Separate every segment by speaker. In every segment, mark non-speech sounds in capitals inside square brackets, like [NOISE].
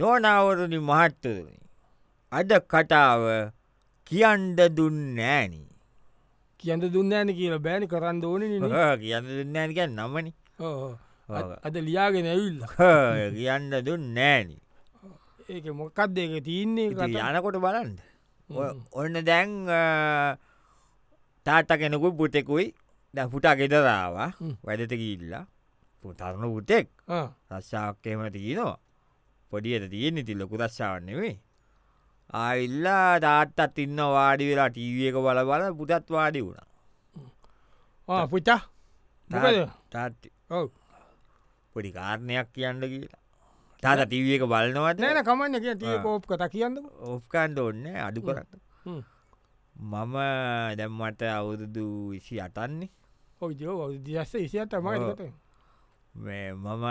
Speaker 1: දෝනාවරුනි මහත්තුරුනි අද කතාව කියන්ඩ දුන්නෑනි
Speaker 2: කියන්න දුන්නෑන කියල බෑනි කරන්න ඕනන
Speaker 1: කියන්න දුන්නෑනික නමනි
Speaker 2: අද ලියාගෙන ඇවිල්ල
Speaker 1: කියන්න දුන්නෑනි
Speaker 2: ඒක මොකක්ද ඒක තියන්නේ කතා.
Speaker 1: යනකොට බලන්ද ඔය-
Speaker 2: හ්ම්.
Speaker 1: ඔන්න දැන් අ, තාත්ත කෙනෙකුයි පුතෙකුයි දැ පුටා ගෙදරවා
Speaker 2: හ්ම්.
Speaker 1: වැඩතකිල්ලා පුතරුණ පුතෙක්
Speaker 2: ආ.
Speaker 1: රස්සාක්කේම තියනවා පොඩියට තියෙන්නේ තිල්ලොකු රස්සාවන්නෙවේ ආඉල්ලා තාත්තත් ඉන්න වාඩි වෙලා ටීවක බල බල පුටත් වාඩි වුණා
Speaker 2: ආ, පුතා මොකද
Speaker 1: තාත්
Speaker 2: ඔව්
Speaker 1: පොඩි කාරණයක් කියන්න කියලා තාත ටීවක බලනවට
Speaker 2: නෑන කමන්න කිය තිය
Speaker 1: ආ.
Speaker 2: කෝප් කතා කියන්නක
Speaker 1: ඔෆ්කන්ඩ ඔන්න අඩු කරන්න
Speaker 2: හ්ම්.
Speaker 1: මම දැම්මට අවුරුදු විසි අටන්නේ
Speaker 2: ඔයිෝ දස්ස ඉසිය තමයි
Speaker 1: ඔව්.
Speaker 2: කත
Speaker 1: මේ මම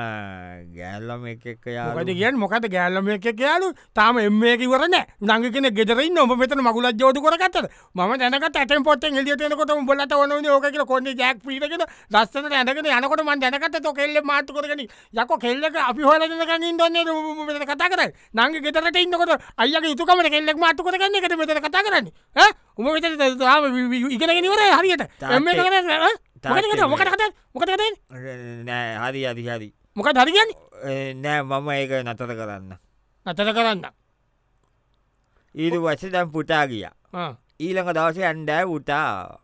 Speaker 1: ගෑල්ලම එක එක
Speaker 2: මොකද
Speaker 1: යාලු-
Speaker 2: කියන් මොකද ගෑල්ලම එක කියයාලු තාම එමකිවරන නඟ කෙන ගෙදරන්න ඔම මෙත මගුලත් ජෝඩ කරගත ම දැනක ඇත පොත් ෙලියතනකොට උඹලට ඕන ඕක කියල කොන්න ජැක් පිටකෙන දස්සන ඇනකෙන යනකොට මන් දැනකට තො කෙල්ල මාතු කරගෙන යක කෙල්ලක අපි හොලකකින් දන්න මෙත කතා කර නංග ගෙතරට ඉන්නකොට අයක යුතුකමට කෙල්ලෙක් මාතු කරගන්න එකට මෙතන කතා කරන්න උම මෙත ඉගෙනගෙනවර හරියට එම කරන මොකට කත මොකට කත
Speaker 1: නෑ හරි අදි හරි
Speaker 2: මොකක් හරිගන්න
Speaker 1: ඒ නෑ මම ඒක නතර කරන්න
Speaker 2: අතර කරන්න
Speaker 1: ඊට වස දැම් පුටා ගිය
Speaker 2: ආ.
Speaker 1: ඊළඟ දවස ඇන්ඩෑ පුටා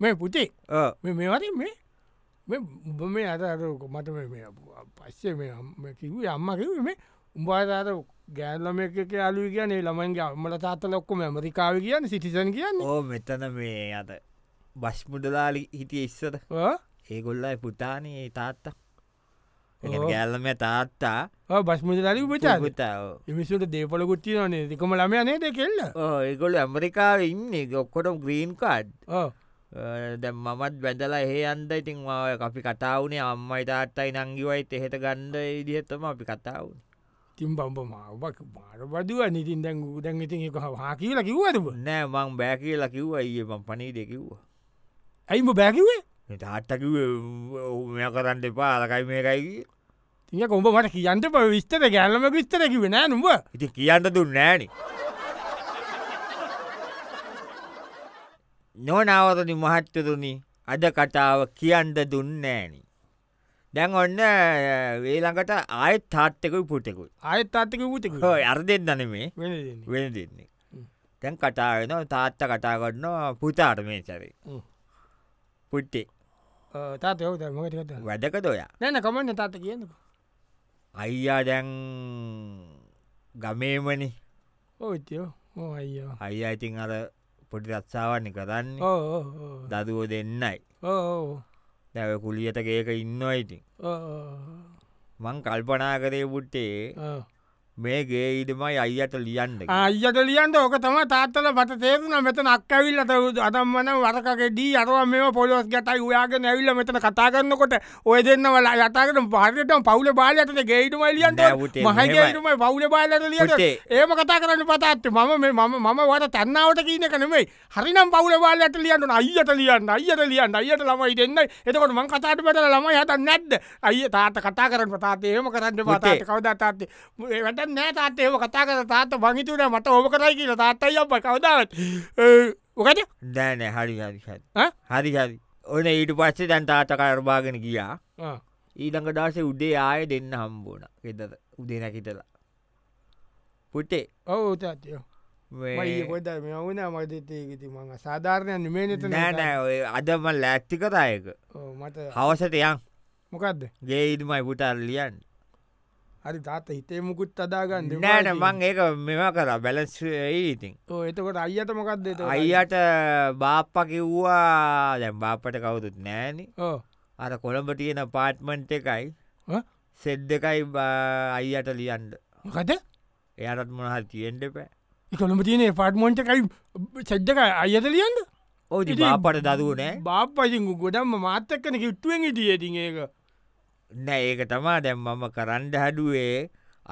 Speaker 2: මේ පුතේ මේ මේවරින් මේ මේ උඹ මේ අතරක මට මේ- මේ පස්සේ මේ අම්ම කිව්වේ අම්ම කිව මේ උඹාතර ගෑල්ලම එක අලු කියන්නේ ළමන්ගේ අම්මල තාත ලොක්කොම ඇමරිකාව කියන්න සිටිසන් කියන්නේ
Speaker 1: ඕ මෙතන මේ අත බස්මුදලාලි හිටිය ඉස්සර
Speaker 2: ආ?
Speaker 1: ඒගොල්ලයි පුතානේ තාත්තා
Speaker 2: ඕ.
Speaker 1: ගැල්ලම තාත්තා
Speaker 2: ආ, බස්මුදලාලි උපචා
Speaker 1: පුතා ඕ.
Speaker 2: එමිසුට දේපලකුත් තියනේ දෙකම ළමය නේද කෙල්ල
Speaker 1: ඕ, ඒගොල්ල ඇමරිකාව ඉන්න ඔක්කොටම් ග්‍රීන් කාඩ්
Speaker 2: ආ.
Speaker 1: දැ මමත් වැදලා ඒ අන්ද ඉතින් ඔය අපි කතාවනේ අම්මයි තාත්තයි නංගිවයි එහෙට ගණ්ඩ ඉදිහත්තම අපි කතාවන
Speaker 2: තිම් බම්බ මාවක් මාර බදුව නිතින් දැන් දැන් ඉතින් එක හා කියල කිව්වද
Speaker 1: නෑ මං බෑ කියලා කිව්ව ඒ මං පනී දෙකිව්වා
Speaker 2: ඇයිම බැකිවේ
Speaker 1: තාත්තකිව මෙය කරන්න එපා අලකයි මේකයි
Speaker 2: තිය කොඹ මට කියන්ට ප විස්තර ගැල්ලම විස්තරකිව නෑ නුඹ
Speaker 1: ඉති කියන්න දුන්නෑන නොනවරනි මහත්තරුණි අද කතාව කියන්ඩ දුන්නෑනි දැන් ඔන්න වේළඟට ආයත් තාත්තකුයි පුටෙකුයි
Speaker 2: ආයත් අත්තක පුතක
Speaker 1: හෝ අර දෙන්න නෙමේ
Speaker 2: වෙන
Speaker 1: වෙන දෙන්නේ
Speaker 2: හ්ම්.
Speaker 1: තැන් කටාගෙන තාත්ත කටා කරන්න පුතාට මේ චරේ
Speaker 2: හ්ම්.
Speaker 1: පුට්ටේ
Speaker 2: තාත යව මට කත
Speaker 1: වැඩක දොයා
Speaker 2: නැන කමන්න තාත කියන්නක
Speaker 1: අයියා දැන් ගමේමනි
Speaker 2: ඕච්චෝ ඕ අයියෝ
Speaker 1: අයියා ඉතින් අර පොඩි රත්සාවන්න කරන්න
Speaker 2: ඕ
Speaker 1: දදුව දෙන්නයි
Speaker 2: ඕ
Speaker 1: දැව කුලියට ගේක ඉන්නවා ඉතින් මං කල්පනා කරේ පුට්ටේ මේ ගේ ඉඩමයි අයියට ලියන්න
Speaker 2: අයියට ලියන්ට ඕක තම තාත්තල පට තේරුන මෙත නක්කවිල්ලට අදම්මන වරකෙදී අරව මේ පොලොස් ගැටයි ඔයාගේ නැවිල්ල මෙතන කතා කරන්නකොට ඔය දෙන්න වල යතාකට පාරිටම පවුල බාලයටන ගේටම ලියන්ට
Speaker 1: නෑ පුතේ, මෙහෙමයි.
Speaker 2: මහගේටම පවුල බාලට ලියට
Speaker 1: පුතේ.
Speaker 2: ඒම කතා කරන්න පතාත්ේ මම මේ මම මම වට තැන්නාවට කියන කනෙමයි හරිනම් පවුල බාලට ලියන්න අයියට ලියන්න අයියට ලියන්න අයියට ළමයි දෙන්න එතකොට මං කතාට පෙට ළමයි හත නැද්ද අයි තාත කතා කරන්න පතාතේ ඒම කරන්න
Speaker 1: පුතේ.
Speaker 2: පතාට කවද තාත්තේ වැට නෑ තාත් ඒම කතා කර තාත මංහිතුන මට ඕම කරයි කියල තාත්තයි අප කවදාවත් ඔකට
Speaker 1: දෑනෑ හරි හරි හරි
Speaker 2: ඈ?
Speaker 1: හරි හරි ඕන ඊට පස්සේ දැන් තාත කරබාගෙන ගියා ඊළඟ දාසේ උඩේ ආය දෙන්න හම්බෝන එතද උදේ නැකිතලා පුටේ
Speaker 2: ඔවු තාත්යෝ
Speaker 1: මේ-
Speaker 2: කොට මෙවුන මතතයකති මඟ සාධාරණයන් මේ නත
Speaker 1: නෑ ඔය අදම ලැත්ති කතායක
Speaker 2: මට
Speaker 1: හවසටයන්
Speaker 2: මොකක්ද
Speaker 1: ගේ ඉඩමයි පුටල් ලියන්
Speaker 2: හරි තාත හිතේ මුකුත් අදාගන්න
Speaker 1: නෑන මං ඒක මෙම කර බැලස්ඉතින්
Speaker 2: එතකොට අයියට මොකක්ද එතකොට?
Speaker 1: අයියට බාප්ප කිව්වා දැම් බාපට කවුරුත් නෑනි
Speaker 2: ඕ.
Speaker 1: අර කොළඹ තියෙන පාට්මන්ට් එකයි
Speaker 2: ඈ?
Speaker 1: සෙද් එකයි බ- අයියට ලියන්ඩ
Speaker 2: මොකද
Speaker 1: එයටත් මොනහ තියෙන්ට පෑ
Speaker 2: කොළඹ තියනේ පාට්මොන්ටකයි සැද්දක අයද ලියන්ද
Speaker 1: ඕති
Speaker 2: ඉතින්
Speaker 1: බාපට දරුව නෑ
Speaker 2: බාප්පසිං ගොඩම්ම මාත්තක්කන කිට්ටුවෙන් හිටියතින් ඒක
Speaker 1: නෑ ඒක තමා දැම් මම කරන්ඩ හැඩුවේ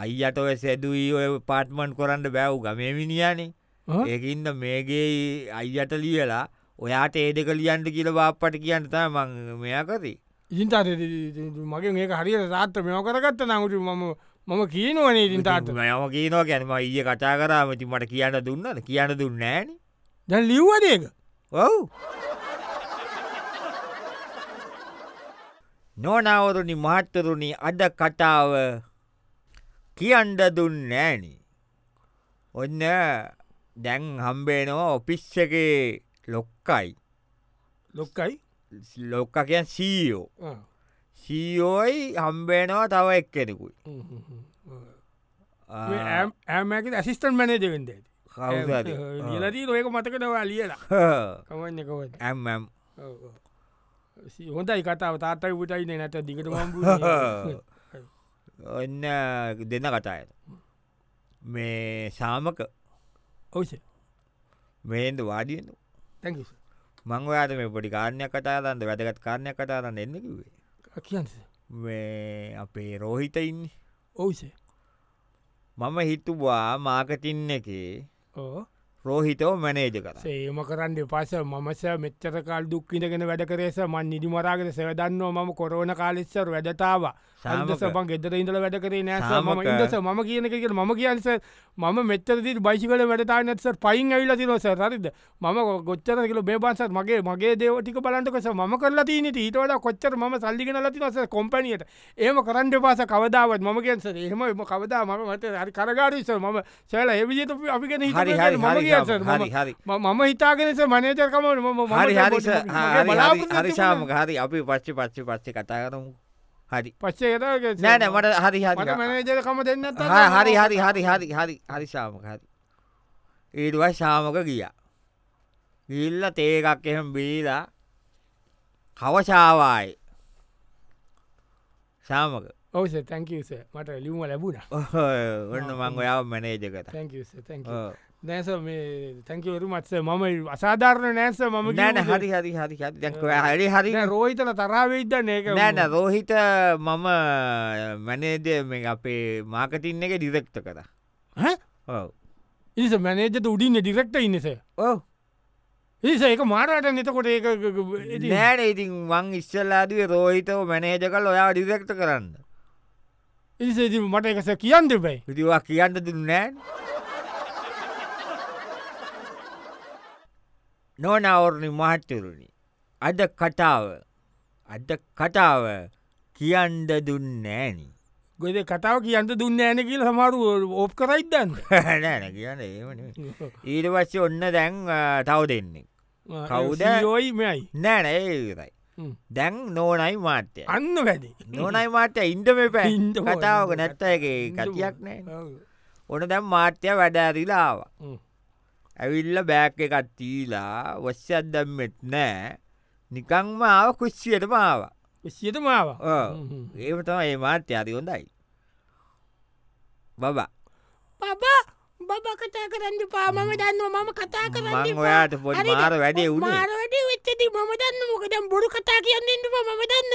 Speaker 1: අයියට ඔය සැදුවී ඔය පාට්මන්් කොරන්න බැව් ගමමිනිියනේ
Speaker 2: ඈ?
Speaker 1: ඒකඉන්න මේගේ අයියට ලියලා ඔයාට ඒදක ලියන්ට කියල බාප්පට කියන්න තා මං මෙයකති
Speaker 2: ඉතින්තාට මගේ ඒක හරියට සාත්ත මෙෝ කරගත්ත නඟුට මම මම කියනවනේ ඉතින් තාට
Speaker 1: යම කියනවා ගැනම ඊය කතා කරාමති මට කියන්න දුන්නද කියන්න දුන්නෑන
Speaker 2: දැන් ලිව්වදේක
Speaker 1: ඔව් නොනවරුණි මහත්තරුණි අද කටාව කියන්ඩ දුන්නෑනි ඔන්න දැන් හම්බේනවා ඔපිස්සගේ ලොක්කයි
Speaker 2: ලොක්කයි
Speaker 1: ලොක්කකයන් සීෝ සීෝයි හම්බේනවා තව එක් කෙනෙකුයි
Speaker 2: ඇමක ඇසිස්ටන් මනජවෙන්ද
Speaker 1: කවුද
Speaker 2: ලදී ලොයක මතකනවා ලියලා කමන්න කවද
Speaker 1: ඇම්ම්
Speaker 2: හොඳයි කතාව තාත්තයි පුටයින නැත දිකට මම්
Speaker 1: [LAUGHS] ඔන්න දෙන්න කතායට මේ සාමක
Speaker 2: ඔවස
Speaker 1: මේන්ද වාඩියෙන
Speaker 2: තැක
Speaker 1: මංවයාට මේ පොඩි කාරණයක් කතාරන්න වැදගත් කාරණයක් කතාරන්න එන්නකිවේ
Speaker 2: කියන්න
Speaker 1: මේ අපේ රෝහිතයින්
Speaker 2: ඔවසේ
Speaker 1: මම හිතුවා මාකටින් එකේ
Speaker 2: ඕ
Speaker 1: රෝහිතව මැනේජ කර
Speaker 2: සේම කරන්න පස මස මෙච්චර කල් දුක්කිටගෙන වැඩ කරේස මන් නිදිමරාගෙන සෙවදන්නවා මම කොරෝන කාලෙස්සර වැඩතාව
Speaker 1: සාමක.
Speaker 2: සබන් ගෙදර ඉඳල වැඩ කරේ නෑ ම
Speaker 1: සාමක.
Speaker 2: ඉදස ම කියන එක කියල මම කියන්ස මම මෙච්චරදි බයිසිකල වැඩතා නැස පයින් ඇවිල තිරෝස රරිද මම ගොච්චර කියල බේබන්සත් මගේ මගේ දේවටික බලන්ටකස ම කරලා තින ඊටවල කොච්චර ම සල්ලිගෙන ලතිනස කොම්පනියට ඒම කරන්ඩ පාස කවදාවත් මම කියන්ස එහම එම කවදා මම මත හරි කරගාරිස ම සෑල එවිජත අපිගෙන
Speaker 1: හරි හරි
Speaker 2: ම
Speaker 1: හරි
Speaker 2: කියස
Speaker 1: සාමක, හරි හරි
Speaker 2: ම- මම හිතාගෙනස මනේජර්කම
Speaker 1: හරි හරි ස- හා- හරි හරි හරි සාමක හරි අපි පච්චි පච්චි පච්චි කතා කරමු හරි
Speaker 2: පස්සේ
Speaker 1: නෑන මට හරි හරි
Speaker 2: මනජරකම දෙන්න
Speaker 1: හා- හරි හරි හරි හරි හරි හරි සාමක හරි ඊඩුවයි සාමක ගිය ගිල්ල තේකක් එහෙම බීලා කවශාවායි සාමක
Speaker 2: ඔවස තැංකස මට ලියුම ලැබුණ
Speaker 1: ඔන්න මං ඔයාව මැනේජකට
Speaker 2: තැංකස තැක
Speaker 1: ඔව්.
Speaker 2: නෑස මේ තැංකවරු මත්ස මම අසාධාරණ නෑස මම
Speaker 1: නෑන හරි හරි හරි හරි දැක හරි හරි
Speaker 2: රෝහිතල තරාවෙයිද නයක
Speaker 1: නෑන රෝහිත මම මැනේජ මේ අපේ මාකටින් එක ඩිරෙක්ට කර ඔව
Speaker 2: ඉස මැනේජත උඩින්න ඩිරෙක්ට ඉන්නස
Speaker 1: ඕ
Speaker 2: ඒස ඒක මාරට නතකොට ඒක
Speaker 1: නෑන ඉතින් වං ඉස්සල්ලාදී රෝහිතව මැනේජ කල් ඔයා ඩිරෙක්ට කරන්න
Speaker 2: ඉනිසේ මට එකස කියන්න දෙබයි
Speaker 1: පිටිවා කියන්න දුන්නෑ නොනවරණ මහත්තරුණි අද කටාව අද කටාව කියන්ඩ දුන්නෑනි [LAUGHS]
Speaker 2: ගොද කතාව කියන්ට දුන්න ෑන කියල හමාරු ඕප් කරයිදන්න
Speaker 1: [LAUGHS] නෑන කියන්න ඒමන ඊට පස්සේ ඔන්න දැන් අ, තව දෙන්නේ කවුද?
Speaker 2: යෝයි මෙයි
Speaker 1: නෑන ඒරයි
Speaker 2: හ්ම්.
Speaker 1: දැන් නෝනයි මාත්‍යය
Speaker 2: අන්න වැඩි
Speaker 1: නොනයි මාත්‍ය ඉන්ඩම පැන්
Speaker 2: ඉන්ඩම
Speaker 1: කතාවක
Speaker 2: ඕන.
Speaker 1: නැත්ත එක ගතියක් නෑ ඕන දැම් මාත්‍ය වැඩඇරිලාවා ඇවිල්ල බෑක් එකත් තීලා වශ්‍යදම්මෙත් නෑ නිකංම ආව කුස්්සියට මාව
Speaker 2: සියට මාව
Speaker 1: ඔව්. ඒමටම ඒ මාත්‍ය අරි හොඳයි බබා
Speaker 3: බබා බබ කතා කරන්න පාමම දන්න මම කතා
Speaker 1: මං
Speaker 3: කරන්න
Speaker 1: ඔයාට පොඩි මාර වැඩේ උුණේ
Speaker 3: මාරවැඩි වෙච්චති මම දන්න මොකදම් බොරු කතා කියන්නන්නම මම දන්න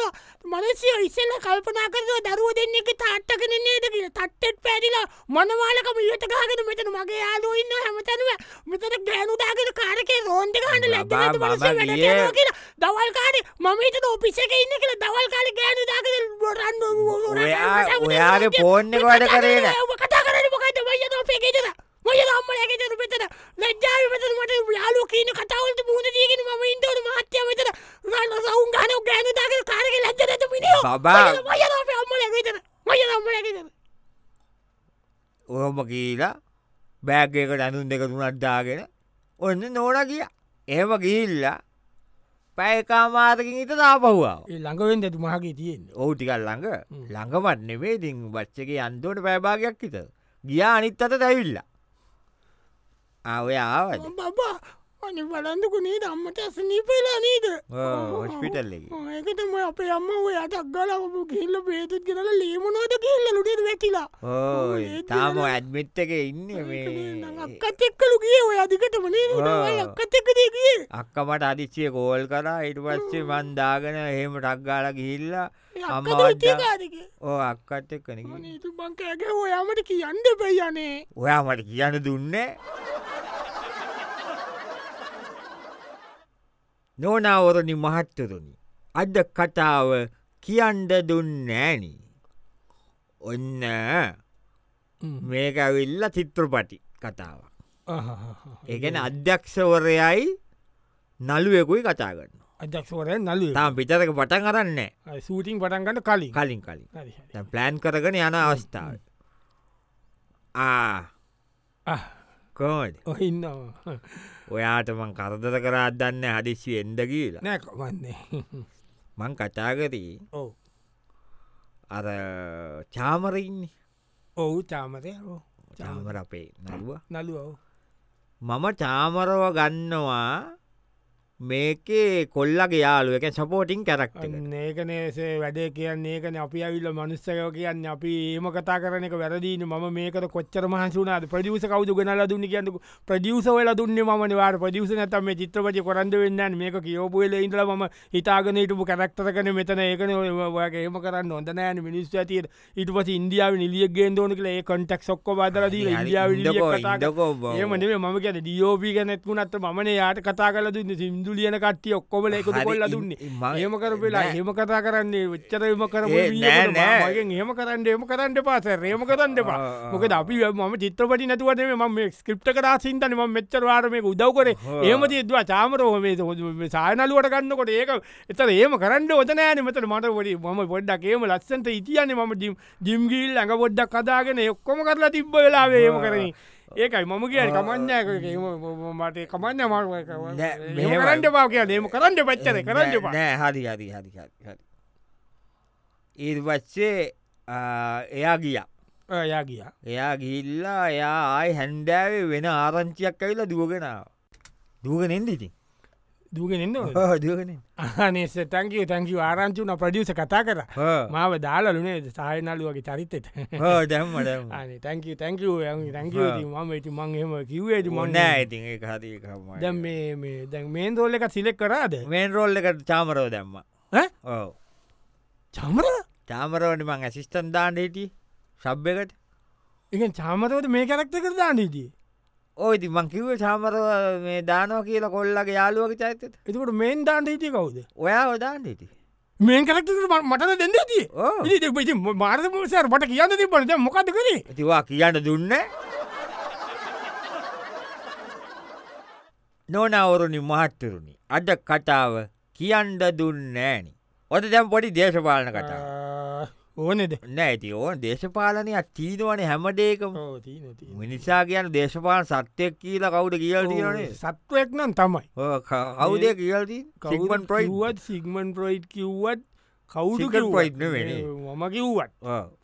Speaker 3: මනසිය ඉස්සල්ල කල්පනා කරව දරුව දෙන්නෙක තාට්ටක නේද කියල තට්ටෙත් පැදිලා මනවාලකම ඉහට ගාගෙන මෙතන මගේ යාලෝ ඉන්න හැමතැනුව මෙතන ගෑනුදාගෙන කාරකේ රෝන්ට ගහන්න
Speaker 1: බබා,
Speaker 3: ලැබ
Speaker 1: මම ගියේ-
Speaker 3: කියලා දවල් කාරේ මම හිතන ඔපිසක ඉන්න කියලා දවල් කාලේ ගෑනුදාගෙන බොරන්න
Speaker 1: ඔයා ඔයාගේ පෝර්ණක වැඩ කරේන
Speaker 3: ඔබ කතා කරන මොකද මයද අපේ ගෙදර මය අම්මලගේ දරු පෙතර ලැජ්ජාව පතර මට යාලු කියන කතවලට මුහුණ දියගෙන ම ඉන්දවන මහත්‍ය වෙතර රන්න සවුන් ගන ගෑනදාගේ කාරග ලැජ්ජනත මිනිියෝ
Speaker 1: බබා
Speaker 3: මය අපේ අම්මලගේතර මය අම්මලගෙදර
Speaker 1: ඔහොම කීලා බෑගකට ඇඳුන් දෙක තුනට්දාගෙන ඔන්න නෝන කිය ඒම ගිහිල්ලා පැයකාමාතකින් හිත තාපහුවාව
Speaker 2: ළඟවෙන් ඇතු මහගේ තියෙන
Speaker 1: ඔහු ටිකල් ළඟ
Speaker 2: හ්ම්.
Speaker 1: ළඟමත් නෙවේ ඉතින් බච්චගේ අන්දෝට පැබාගයක් හිත ගියා අනිත් අත දැවිල්ලා ආවයාවද
Speaker 3: බබා අනි බලන්දකු නේද අම්මට ඇස නීපෙලා නීද
Speaker 1: හොස්පිටල් එක
Speaker 3: ඒකතම අපේ අම්ම ඔය අටක් ගලපු ගිල්ල පේතුත් කියල ලීමනෝද කියල්ල ලුඩෙද වැටිලා
Speaker 1: ඕ
Speaker 3: ඒත්
Speaker 1: තාම ඇඩ්මිට් එක ඉන්න මේ
Speaker 3: අක්කත් එක්කලු ගිය ඔය අධිකටම නේද
Speaker 1: ඔව්.
Speaker 3: අක්කත් එක්කදේ ගිය
Speaker 1: අක්කමට අදිච්චිය කෝල් කරා ඉට පස්සේ මන්දාගෙන එහෙම ටක්ගාල ගිහිල්ලා අම්මා
Speaker 3: අක්කද
Speaker 1: වද්දා.
Speaker 3: කාරගේ
Speaker 1: ඕ අක්කත් එක් කනකි
Speaker 3: නීතු බංකෑගේ ඔයාමට කියන්න පැයනේ
Speaker 1: ඔයා මට කියන්න දුන්නේ නෝනාවරණි මහත්තරුණි අද කතාව කියන්ඩ දුන්නෑනි ඔන්න මේක ඇවිල්ල චිත්‍රපටි කතාව. ඒගැන අධ්‍යක්ෂවරයයි නළුවෙකුයි කතා කරන්න.
Speaker 2: අදක්ෂෝරය නල්ලු
Speaker 1: තාම පිටරක පටන් කරන්න
Speaker 2: සූටිං පටන්ගට කලින්
Speaker 1: කලින් කලින් දැන් ප්ලෑන් කරගන යන අවස්ථාව. කෝඩ්
Speaker 2: ඔහින්න
Speaker 1: ඔයාටමං කරදර කරා දන්න හදිසි එන්ද කියලා
Speaker 2: නැක වන්නේ
Speaker 1: මං කතාගරී
Speaker 2: ඔව
Speaker 1: අර චාමරඉන්නේ
Speaker 2: ඔවු චාමතය
Speaker 1: චාමර අපේ නළුවා
Speaker 2: නලුව
Speaker 1: මම චාමරව ගන්නවා මේකේ කොල්ලගේ යාලුවක සපෝටිං කැරක්ට
Speaker 2: ඒකනේසේ වැඩේ කියන්නේ ඒකන අපි ඇවිල්ල මනුස්සයෝ කියන්න අපි ඒම කතා කරනක වැරදිීන ම මේක කොච්චර මහන්සුනාද ප්‍රදිියස කවුතු ගෙනල දුන්න කියන්නක ප්‍රදිියස වල දුන්න මනවාර ප්‍රදිියස නැතම චිත්‍රපචි කොරන්ද වෙන්න මේක කියෝපුල ඉන්දල ම හිතාගෙන ඉටපු කරක්ටර කන මෙතන ඒකන ඔයාගේ ඒම කරන්න නොද නෑන මිනිස්ස ඇතියට ඉට පස ඉන්දියාව නිලියක්ගේ දෝනකල ඒ කොටක් සොක්ක බදරදී ඉන්දියාව ඒමනේ මම කියන ඩියෝපී ගැනෙත්කුනත් මන යාට කතා කල දුන්න සිින්දු ලියන කට්ටිය ඔක්කොම එකතු
Speaker 1: හරි,
Speaker 2: කොල්ල
Speaker 1: ඉන්-
Speaker 2: දුන්නේ
Speaker 1: ඉන් මම-
Speaker 2: ඒම කරපෙලා
Speaker 1: නෑ.
Speaker 2: හෙම කතා කරන්නේ වෙච්චර එම කර
Speaker 1: ඒ නෑ, නෑ.
Speaker 2: හෙම කරන්න එම කරන්න පාස රේම කරන්න එපා
Speaker 1: ආ, ආ.
Speaker 2: මොකද අපි ම චිත්‍රපටි නැතුවට ම ස්ක්‍රප්ට කර සින්තන ම මෙච්චරවාරමක උදව් කර ඒම දවා චාමරෝහමේ සායනලුවට ගන්නකොට ඒක එතර ඒම කරන්න ඔතනෑන මෙතට මට ොඩි ම පොඩ්ඩක් ඒම ලස්සන්ට ඉතියන්නේ ම ජිම්ගිල් ඇඟ පොඩ්ඩක් කදාගෙන ඔක්කොම කරලා තිබ්බ වෙලාවේ ඒම කරන ඒකයි මම කියන කමන්නයක මට කමන්න
Speaker 1: නෑ,
Speaker 2: ම
Speaker 1: මෙහෙමයි.
Speaker 2: කරන්න පා කිය ඒම කරන්න පච්චන කරන්න පා
Speaker 1: නෑ හරි හරි හරි හරි ඉර්වච්චේ එයා ගිය
Speaker 2: යා ගිය
Speaker 1: එයා ගිල්ලා එයා ආයි හැන්ඩෑවේ වෙන ආරංචියක් ඇවිලා දුවගෙනාව දුවගෙනෙන් ඉතින්
Speaker 2: දගෙනන්න
Speaker 1: දුවගෙනෙන්
Speaker 2: අනේ තැංකව තැංකිව ආරංචුන ප්‍රඩියස කතා කර මාව දාලලුනේ සායනලුවගේ චරිතෙට
Speaker 1: දැම්මට
Speaker 2: අනේ තැංකව තැංකව තැංකව ම ට මං එම කිවේට මොන්නෑ
Speaker 1: මොන්නෑ ඉතින් ඒ හරකම
Speaker 2: දැ මේ දැන් මේ දෝල්ල එක සිලෙක් කරාද
Speaker 1: මේන් රෝල්ල එකට චාමරෝ දැම්ම
Speaker 2: ඈ?
Speaker 1: ඕ
Speaker 2: චමර
Speaker 1: චාමරවට මං ඇසිස්ටන් දාන්න හිටි සබ් එකට
Speaker 2: එක චාමතවට මේ කරක්ත කරදා නීතිී
Speaker 1: ඕයිති මං කිව චාමරව මේ දානෝ කියලා කොල්ලගේ යාලුවක චෛතත
Speaker 2: එතකට මේන් දාන්ට හිටිය කවුද
Speaker 1: ඔයා ඔදාන්න හිටි
Speaker 2: මේ කරක්ට මට දෙන්න
Speaker 1: ඕ
Speaker 2: ති මාර්මසර මට කියන්න තිබට මොකද කරේ
Speaker 1: ඇතිවා කියන්න දුන්න නොනවරුණි මහත්තරුණි අද කතාව කියන්ඩ දුන්නෑනි ඔොද දැම් පොඩි දේශපාලන කටාව
Speaker 2: ඕනෙද
Speaker 1: නෑ ඇති ඕන දේශපාලනයක් තීනවන හැමදේකම මිනිසා කියන දේශපාන සත්‍යයක් කියලා කවුද කියල් තියනේ
Speaker 2: සත්වයක් නම් තමයි
Speaker 1: කවුදේ කියල්දී කවුවන් ප්‍රයිත්
Speaker 2: වත් සිගමන් ප්‍රයිට් කිව්වත් කවුදු
Speaker 1: සිග්මන්ඩ් ෆ්‍රොයිඩ් නෙවෙයි.
Speaker 2: මම කිව්වත්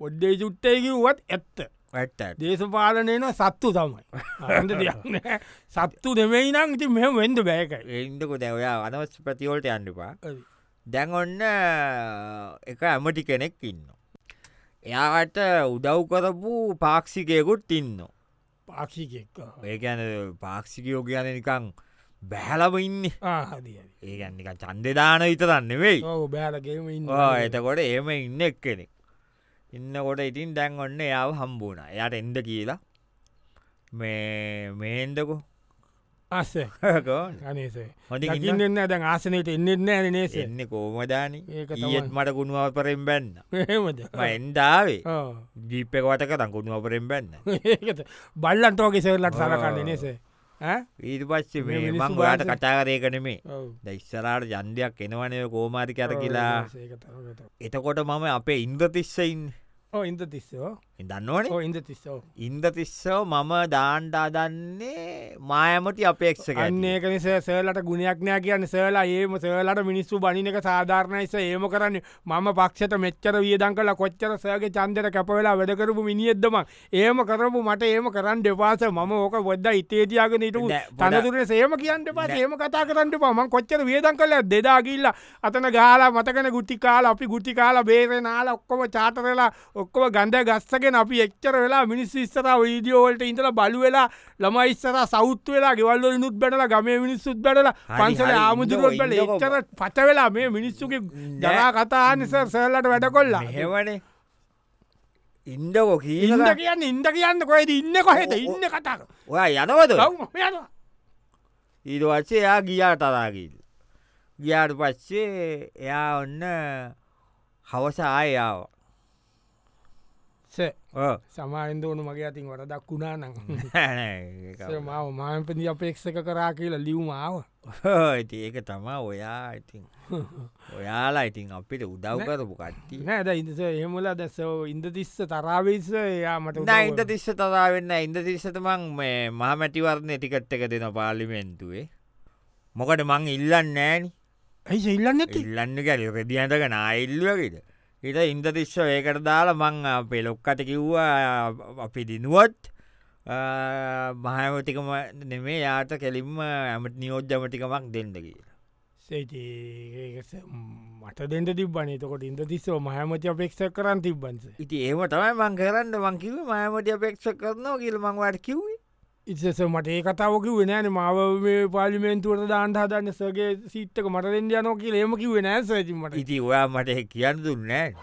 Speaker 2: පොඩ්ඩේ චුට්ටය කිව්වත් ඇත්ත
Speaker 1: ඇත්ත
Speaker 2: දේශපාලනයන සත්තු තමයි අන්ද දෙයක් නෑ. සත්තු දෙමයි නම් ඉති මෙම වෙන්ඩ බෑකයි
Speaker 1: එන්දකො දැවයා අනවස් ප්‍රතිවෝල්ට අන්නපා
Speaker 2: හරි.
Speaker 1: දැන් ඔන්න එක ඇමටි කෙනෙක් ඉන්න. එයාට උදව් කරපු පාක්ෂිකයකුත් ඉන්න.
Speaker 2: පාක්ෂිකෙක්
Speaker 1: ඒකැන පාක්ෂිකයෝ කියන නිකං බැහලම ඉන්න
Speaker 2: ආහදිය
Speaker 1: ඒකනික චන්දදාන විතරන්න වෙයි
Speaker 2: ඔව බෑලගේම ඉන්න
Speaker 1: එතකොට ඒම ඉන්න එක් කෙනෙක් ඉන්නකොට ඉතින් දැන් ඔන්න යාව හම්බුණ එයට එන්ද කියලා මේ මේන්දකු [LAUGHS]
Speaker 2: අස්ස අනේසේ
Speaker 1: හොඳ ඉන්න
Speaker 2: ඉන්නන්න දැන් ආසනයට එන්නෙන්න ඇන නේසේ
Speaker 1: එන්න කෝමදාන
Speaker 2: ඒක තමයි.
Speaker 1: ඒත් මට ගුණුව අපරෙන් බැන්න
Speaker 2: එහෙමද
Speaker 1: එන්ඩාවේ
Speaker 2: ඔව්.
Speaker 1: ජීප්පක වටකතන් ගුණුව අපරෙන් බැන්න
Speaker 2: ඒකත බල්ලන්ටෝගේ සෙල්ලට සලකන්න නේසේ
Speaker 1: ඊට පස්සේ මේ
Speaker 2: මේ
Speaker 1: මං
Speaker 2: මිනිස්සු
Speaker 1: ගොයාට
Speaker 2: බාන්සෙ-
Speaker 1: කතා කරයකනෙමේ ඉස්සරාට ජන්දයක් එනවනය කෝමාරි කර කියලා එතකොට මම අපේ ඉන්ද්‍රතිස්සයින්
Speaker 2: ඕ ඉන්ද තිස්සෝ
Speaker 1: දන්නවනේ
Speaker 2: ඕ ඉන්ද තිස්සෝ
Speaker 1: ඉන්දතිස්සෝ මම දාණ්ඩා දන්නේ මායමති අපේක්ෂක
Speaker 2: ගන්නේක නිස සලට ගුණයක් නෑ කියන්න සලා ඒම සලට මිනිස්සු බනිනක සාධාරණයිස ඒම කරන්න මම පක්ෂට මෙච්චර වියදන් කලා කොච්චර සයගේ චන්දර කැපවෙලා වැඩකරපු මිනිියද්දම ඒම කරපු මට ඒම කරන්න දෙපාස මම ඕක බොද්ද ඉතේතියාගෙන ඉටු
Speaker 1: නෑ, බොඩ-
Speaker 2: තනතුර සේම කියන්න පා ඒම කතා කරන්න පමන් කොච්චර වියදන් කල දෙදාගිල්ල අතන ගාලා මතකන ගුටි කාල අපි ගුටි කාලා බේරෙනනාල ඔක්කොම චාතරලා ඔක්කොම ගන්ධ ගස්සගෙන අපි එච්චර වෙලා මිනිස් ස්තර වීඩියෝවලට ඉඳල බලු වෙලා ළම ඉස්සර සෞත් වෙලා ගෙවල්ල නුත් බැඩලා ගමේ මිනිස්සුත් බැඩලා
Speaker 1: හරි,
Speaker 2: පන්සල
Speaker 1: හරි,
Speaker 2: ආමුදුරුවත් බල
Speaker 1: ඉන්නකෝ, ඉන්නකෝ.
Speaker 2: එච්චර පච වෙලා මේ මිනිස්සුගේ
Speaker 1: නෑ.
Speaker 2: දරා කතා නිසර් සල්ලට වැඩ කොල්ලා
Speaker 1: හෙවනේ ඉන්ඩකෝ
Speaker 2: ඉන්න
Speaker 1: කියීල
Speaker 2: කියන්න ඉන්ද කියන්න කොහෙද ඉන්න කොහෙද ඉන්න කතාර
Speaker 1: ඔයා යනවද
Speaker 2: ගවම යනවා
Speaker 1: ඊට වච්චේ එයා ගියා තරාකිල් ගියාට පච්චේ එයා ඔන්න හවස ආයාව
Speaker 2: සේ
Speaker 1: ඕ.
Speaker 2: සමාෙන්ද ඕනු මගේ අතින් වට දක්ුණා නං
Speaker 1: [LAUGHS] නෑ, නෑ, ඒක
Speaker 2: මාව මාමපදි අපේක්ෂක කරා කියලා ලිව්මාව
Speaker 1: ඔය ඉතින් ඒක තමා ඔයා ඉතින් ඔයාලා ඉතින් අපිට උදව් කරපු කට්ටි
Speaker 2: නෑද ඉඳස එහෙමල දැස ඉන්දතිස්ස තරාවිස යාමට
Speaker 1: නයින්ද තිස්ස තදා වෙන්න ඉන්ද තිස්සතමං මේ මහමැටිවරණය ටිකට් එක දෙන පාලිමෙන්තුවේ මොකට මං ඉල්ලන්න නෑනි
Speaker 2: ඇයි ඉල්ලන්න
Speaker 1: ඉල්ලන්න ගැල රෙදිියන්ටක නායිල්ලුවකට හිට ඉන්ද තිස්ස ඒකට දාලා මං අපේ ලොක්කට කිව්වා අපි දිනුවත් මහමතිකම නෙමේ යාට කෙලින්ම ඇමට නියෝජ්ජමටිකමක් දෙන්න කියලා
Speaker 2: සේටි මට දෙට තිබන තකොට ඉද තිස්සෝ මහමති අපේක්ෂ කරන්න තිබන්ස
Speaker 1: ඉති ඒම තමයි මං කරන්න මංකිව මයමට අපේක්ෂ කරනවා කියල මංවට කිව්වේ
Speaker 2: ඉත්සෙස මට ඒ කතාවකි වෙනෑන මාව මේ පාලිමෙන්තුවට දාන්ට හදන්න සගේ සිට්ක මට දෙෙන්ඩ යනෝ කිය ඒමකි වෙනෑ සේතිමට
Speaker 1: ඉති ඔයා මට එහෙ කියන්න දුන්නෑ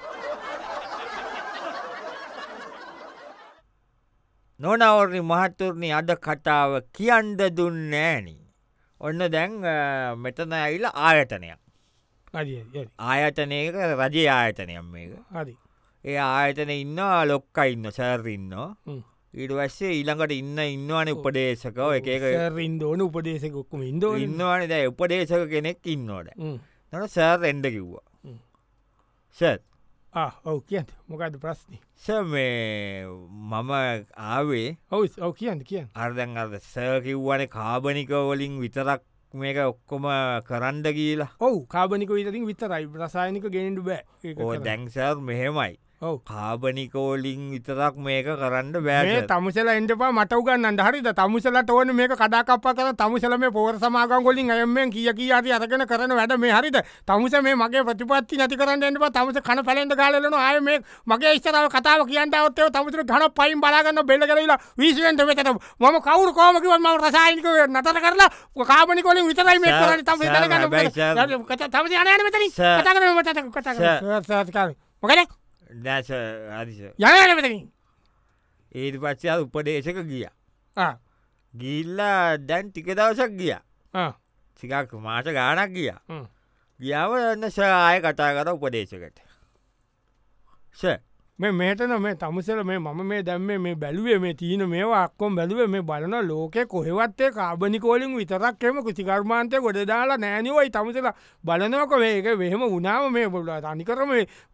Speaker 1: නොනවරණි මහත්තුරණි අද කතාව කියන්ඩ දුන්නෑනි ඔන්න දැන් අ, මෙතන ඇවිල ආයතනයක්
Speaker 2: හරි
Speaker 1: ආයතනයක රජ ආයතනයක් මේක
Speaker 2: හරි
Speaker 1: ඒ ආයතන ඉන්නවා ලොක්ක ඉන්න සැරරින්න ඉඩවස්සේ ඊළඟට ඉන්න ඉන්නවාන උපදේශකව එක එක
Speaker 2: රින්දෝන උපදේශකොක්කම ඉන්දෝ
Speaker 1: ඉන්නවාන දැ උපදේශක කෙනෙක් ඉන්නෝට නට සර් එන්ඩ කිව්වා
Speaker 2: හ්ම්.
Speaker 1: සත්
Speaker 2: ඔව කියන්න මොකද ප්‍රශ්නය
Speaker 1: ස මේ මම ආවේ
Speaker 2: ඔවු ඔව කියන්න කියන්න
Speaker 1: අර්දන් අද සකිව්වන කාබනික වලින් විතරක් මේක ඔක්කොම කරන්ඩ කියලා
Speaker 2: ඔව කාබනික විතරින් විතරයි ප්‍රසායනික ගෙනෙන්ඩු බෑ ඒක
Speaker 1: ඕ
Speaker 2: කරන්න.
Speaker 1: දැන්සර් මෙහෙමයි
Speaker 2: ඔව්.
Speaker 1: කාබනිකෝලින් විතරක් මේක කරන්න
Speaker 2: මේ
Speaker 1: බෑ
Speaker 2: තමුසල එන්ටපා මටවගන්න හරිද තමුසලට ඕන මේක කඩාකප්පා කර තමුසල මේ පෝර සමාගංගොලින් අයමෙන් කිය කිය අති අරගෙන කරන වැඩ මේ හරිද තමුස මේ මගේ ප්‍රතිපත්ති නැති කරන්න එන්නවා තමුස කන පැලෙන්ට ගලන අය මේ මගේ ස්තරාව කතාව කියන්න ඔත්තේ තමුසර ගන පයින් බලාගන්න බෙල්ල කරලා වීසිෙන්ට වෙතට මම කවුරු කෝමකිව ම රසායනික නතර කරලා කාමනිකොලින් විතරයි මේ
Speaker 1: සර්,
Speaker 2: කරන්න තම
Speaker 1: සර්, හැබැයි සර්.
Speaker 2: තම යන මෙතන
Speaker 1: සර්.
Speaker 2: කතා කර මත කතා
Speaker 1: සර්.
Speaker 2: කර මොකද
Speaker 1: නැස අරිස
Speaker 2: යන මෙතකින්
Speaker 1: ඒට පච්චා උපදේශක ගිය
Speaker 2: ආ
Speaker 1: ගිල්ලා දැන් ටික දවසක් ගිය
Speaker 2: ආ
Speaker 1: සිකක් මාස ගානක් ගිය
Speaker 2: හ්ම්.
Speaker 1: ගියාව එන්න සආය කතා කර උපදේශකට ස
Speaker 2: මේ මේටන මේ තමුසල මේ මම මේ දැම්ම මේ බැලුවේ මේ තියන මේ අක්කොම් බැලුව මේ බලන ලෝකෙ කොහෙවත්තේ කාබනිකෝලින් විතරක් එම කුසිකර්මාන්තය ගොඩ දාලා නෑනිවයි තමුසල බලනෝක වේක වෙහෙම උනාව මේ බොල තනිකරම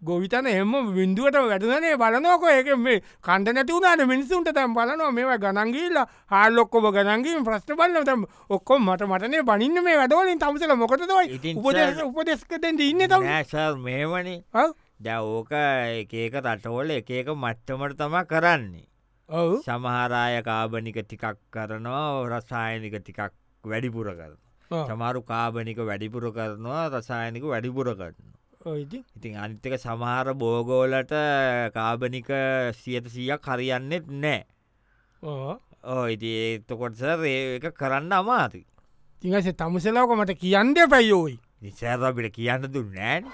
Speaker 2: ගොවිතන එම විින්දුවට වැටනේ බලනෝක ඒක මේ කණඩ නැති වුණට මිනිසුන්ට තැම් බලනවා මේ ගනන්ගීල්ල හාල්ලොක්කොම ගනන්ගීම ප්‍රශ්ට බලන තැම් ඔක්කොම් මට මටනේ බනින්න මේ වැඩෝලින් තමුසල මොකතවයි
Speaker 1: ඉතින්
Speaker 2: උපදෙස්
Speaker 1: සර්-
Speaker 2: උපදෙස්කතෙන්ට ඉන්න තම
Speaker 1: නෑසර් මෙමනේ දැ ඕක එකක රටවල එකක මට්ටමට තමා කරන්නේ.
Speaker 2: ඔවු
Speaker 1: සමහරාය කාබනික ටිකක් කරනවා රසායනික ටිකක් වැඩිපුර කරන. සමරු කාබනික වැඩිපුර කරනවා රසායනික වැඩිපුර කරනවා.
Speaker 2: ඔයිති
Speaker 1: ඉතින් අනිත්තක සමහර බෝගෝලට කාබනික සියට සීයක් හරියන්නෙත් නෑ.
Speaker 2: ඕ
Speaker 1: ඕ ඉති ඒත්තකොටස ඒක කරන්න අමාති.
Speaker 2: තිංහසේ තමුසලාක මට කියන්ඩ පැයෝයි
Speaker 1: නිසෑර අපිට කියන්න දුන්නෑන්